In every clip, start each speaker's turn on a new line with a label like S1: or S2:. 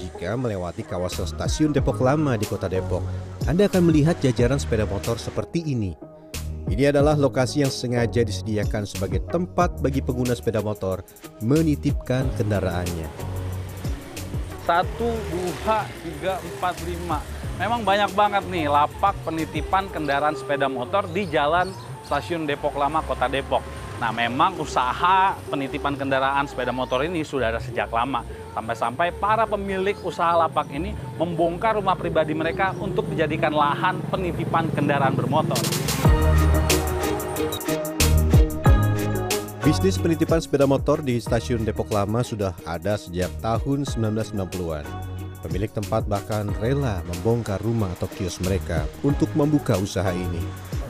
S1: jika melewati kawasan stasiun depok lama di kota depok anda akan melihat jajaran sepeda motor seperti ini ini adalah lokasi yang sengaja disediakan sebagai tempat bagi pengguna sepeda motor menitipkan kendaraannya
S2: Satu, dua, tiga, empat, lima. Memang banyak banget nih lapak penitipan kendaraan sepeda motor di jalan Stasiun Depok Lama, Kota Depok. Nah, memang usaha penitipan kendaraan sepeda motor ini sudah ada sejak lama. Sampai-sampai para pemilik usaha lapak ini membongkar rumah pribadi mereka untuk dijadikan lahan penitipan kendaraan bermotor.
S1: Bisnis penitipan sepeda motor di stasiun Depok Lama sudah ada sejak tahun 1990-an. Pemilik tempat bahkan rela membongkar rumah atau kios mereka untuk membuka usaha ini.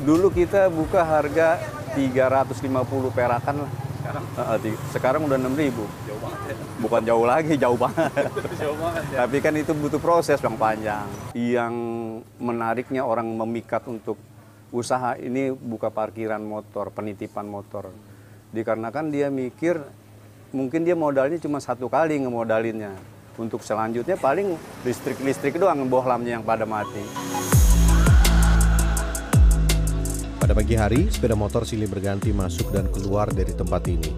S3: Dulu kita buka harga 350 perakan lah.
S2: Sekarang
S3: Heeh, ti- Sekarang udah 6000.
S2: jauh banget ya.
S3: Bukan jauh lagi, jauh banget.
S2: Jauh banget
S3: Tapi kan itu butuh proses yang panjang. Yang menariknya orang memikat untuk usaha ini buka parkiran motor, penitipan motor. Dikarenakan dia mikir mungkin dia modalnya cuma satu kali ngemodalinnya. Untuk selanjutnya paling listrik-listrik doang bohlamnya yang pada mati.
S1: Pada pagi hari, sepeda motor silih berganti masuk dan keluar dari tempat ini.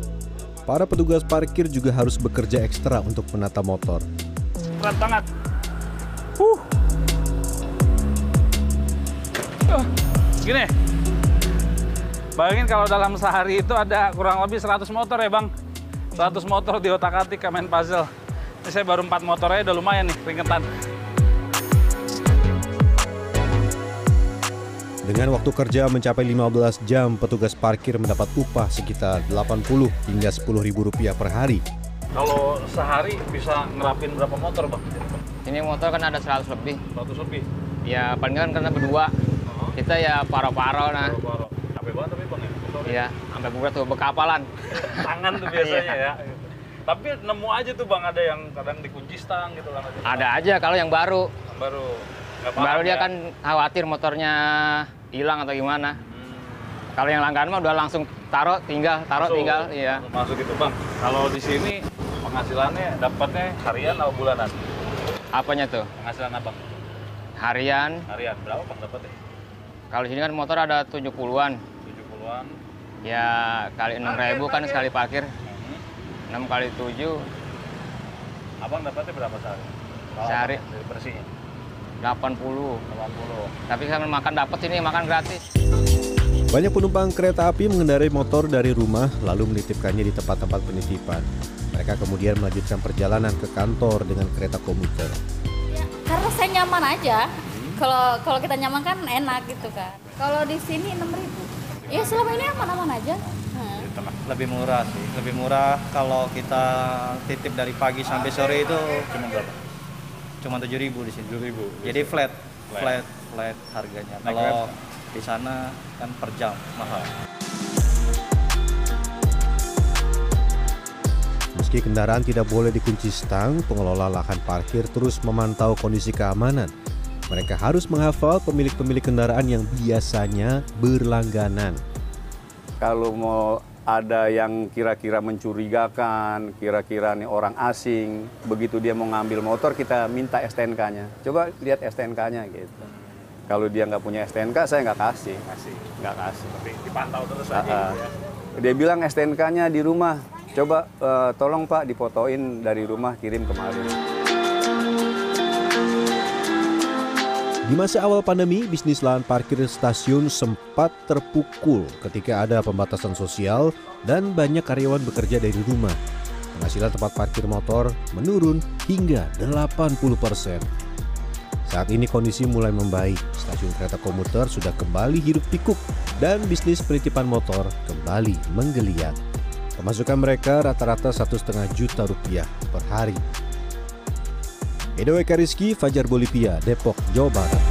S1: Para petugas parkir juga harus bekerja ekstra untuk menata motor.
S2: Berat banget. Huh. Uh, Gini. Bayangin kalau dalam sehari itu ada kurang lebih 100 motor ya bang. 100 motor di otak atik main puzzle. Ini saya baru 4 motornya udah lumayan nih keringetan.
S1: Dengan waktu kerja mencapai 15 jam, petugas parkir mendapat upah sekitar 80 hingga 10 ribu rupiah per hari.
S2: Kalau sehari bisa ngerapin berapa motor bang?
S4: Ini motor kan ada 100 lebih.
S2: 100 lebih.
S4: Ya paling kan karena berdua. Kita ya paro-paro nah.
S2: Baru-baru. Capek banget tapi bang ya. Iya. motornya.
S4: Ya, sampai buka tuh bekapalan.
S2: Tangan tuh biasanya ya. Tapi nemu aja tuh bang ada yang kadang dikunci stang gitu kan.
S4: Ada aja kalau yang baru.
S2: Baru. nggak paham
S4: Baru dia
S2: ya.
S4: kan khawatir motornya hilang atau gimana.
S2: Hmm,
S4: Kalau yang langganan mah udah langsung taruh tinggal, taruh
S2: masuk.
S4: tinggal, iya.
S2: Masuk itu bang. Kalau di sini penghasilannya dapatnya harian atau bulanan?
S4: Apanya tuh?
S2: Penghasilan apa?
S4: Harian.
S2: Harian berapa bang dapatnya?
S4: Kalau di sini kan motor ada 70-an.
S2: 70-an.
S4: Ya kali 6.000 kan sekali parkir.
S2: Hmm.
S4: 6 kali 7
S2: Abang dapatnya berapa sehari? Kalau
S4: Sehari.
S2: abang Dari bersihnya
S4: 80.
S2: 80.
S4: Tapi kan makan dapat sini makan gratis.
S1: Banyak penumpang kereta api mengendarai motor dari rumah lalu menitipkannya di tempat-tempat penitipan. Mereka kemudian melanjutkan perjalanan ke kantor dengan kereta komuter.
S5: Iya, karena saya nyaman aja kalau kalau kita nyaman kan enak gitu kan kalau di sini 6000 ya selama ini aman-aman aja Heeh.
S6: lebih murah sih lebih murah kalau kita titip dari pagi sampai sore itu cuma berapa cuma tujuh ribu di sini ribu jadi flat flat flat, harganya kalau di sana kan per jam mahal
S1: Meski kendaraan tidak boleh dikunci stang, pengelola lahan parkir terus memantau kondisi keamanan. Mereka harus menghafal pemilik-pemilik kendaraan yang biasanya berlangganan.
S3: kalau mau ada yang kira-kira mencurigakan, kira-kira nih orang asing, begitu dia mau ngambil motor kita minta STNK-nya. Coba lihat STNK-nya gitu. Kalau dia nggak punya STNK saya nggak kasih,
S2: Kasih.
S3: nggak kasih.
S2: Tapi dipantau terus aja.
S3: Ah, ah.
S2: gitu ya.
S3: Dia bilang STNK-nya di rumah. Coba eh, tolong Pak dipotoin dari rumah kirim kemarin.
S1: Di masa awal pandemi, bisnis lahan parkir stasiun sempat terpukul ketika ada pembatasan sosial dan banyak karyawan bekerja dari rumah. Penghasilan tempat parkir motor menurun hingga 80%. Saat ini kondisi mulai membaik, stasiun kereta komuter sudah kembali hidup pikuk dan bisnis penitipan motor kembali menggeliat. Pemasukan mereka rata-rata satu setengah juta rupiah per hari. Edo Eka Rizky, Fajar Bolivia, Depok, Jawa Barat.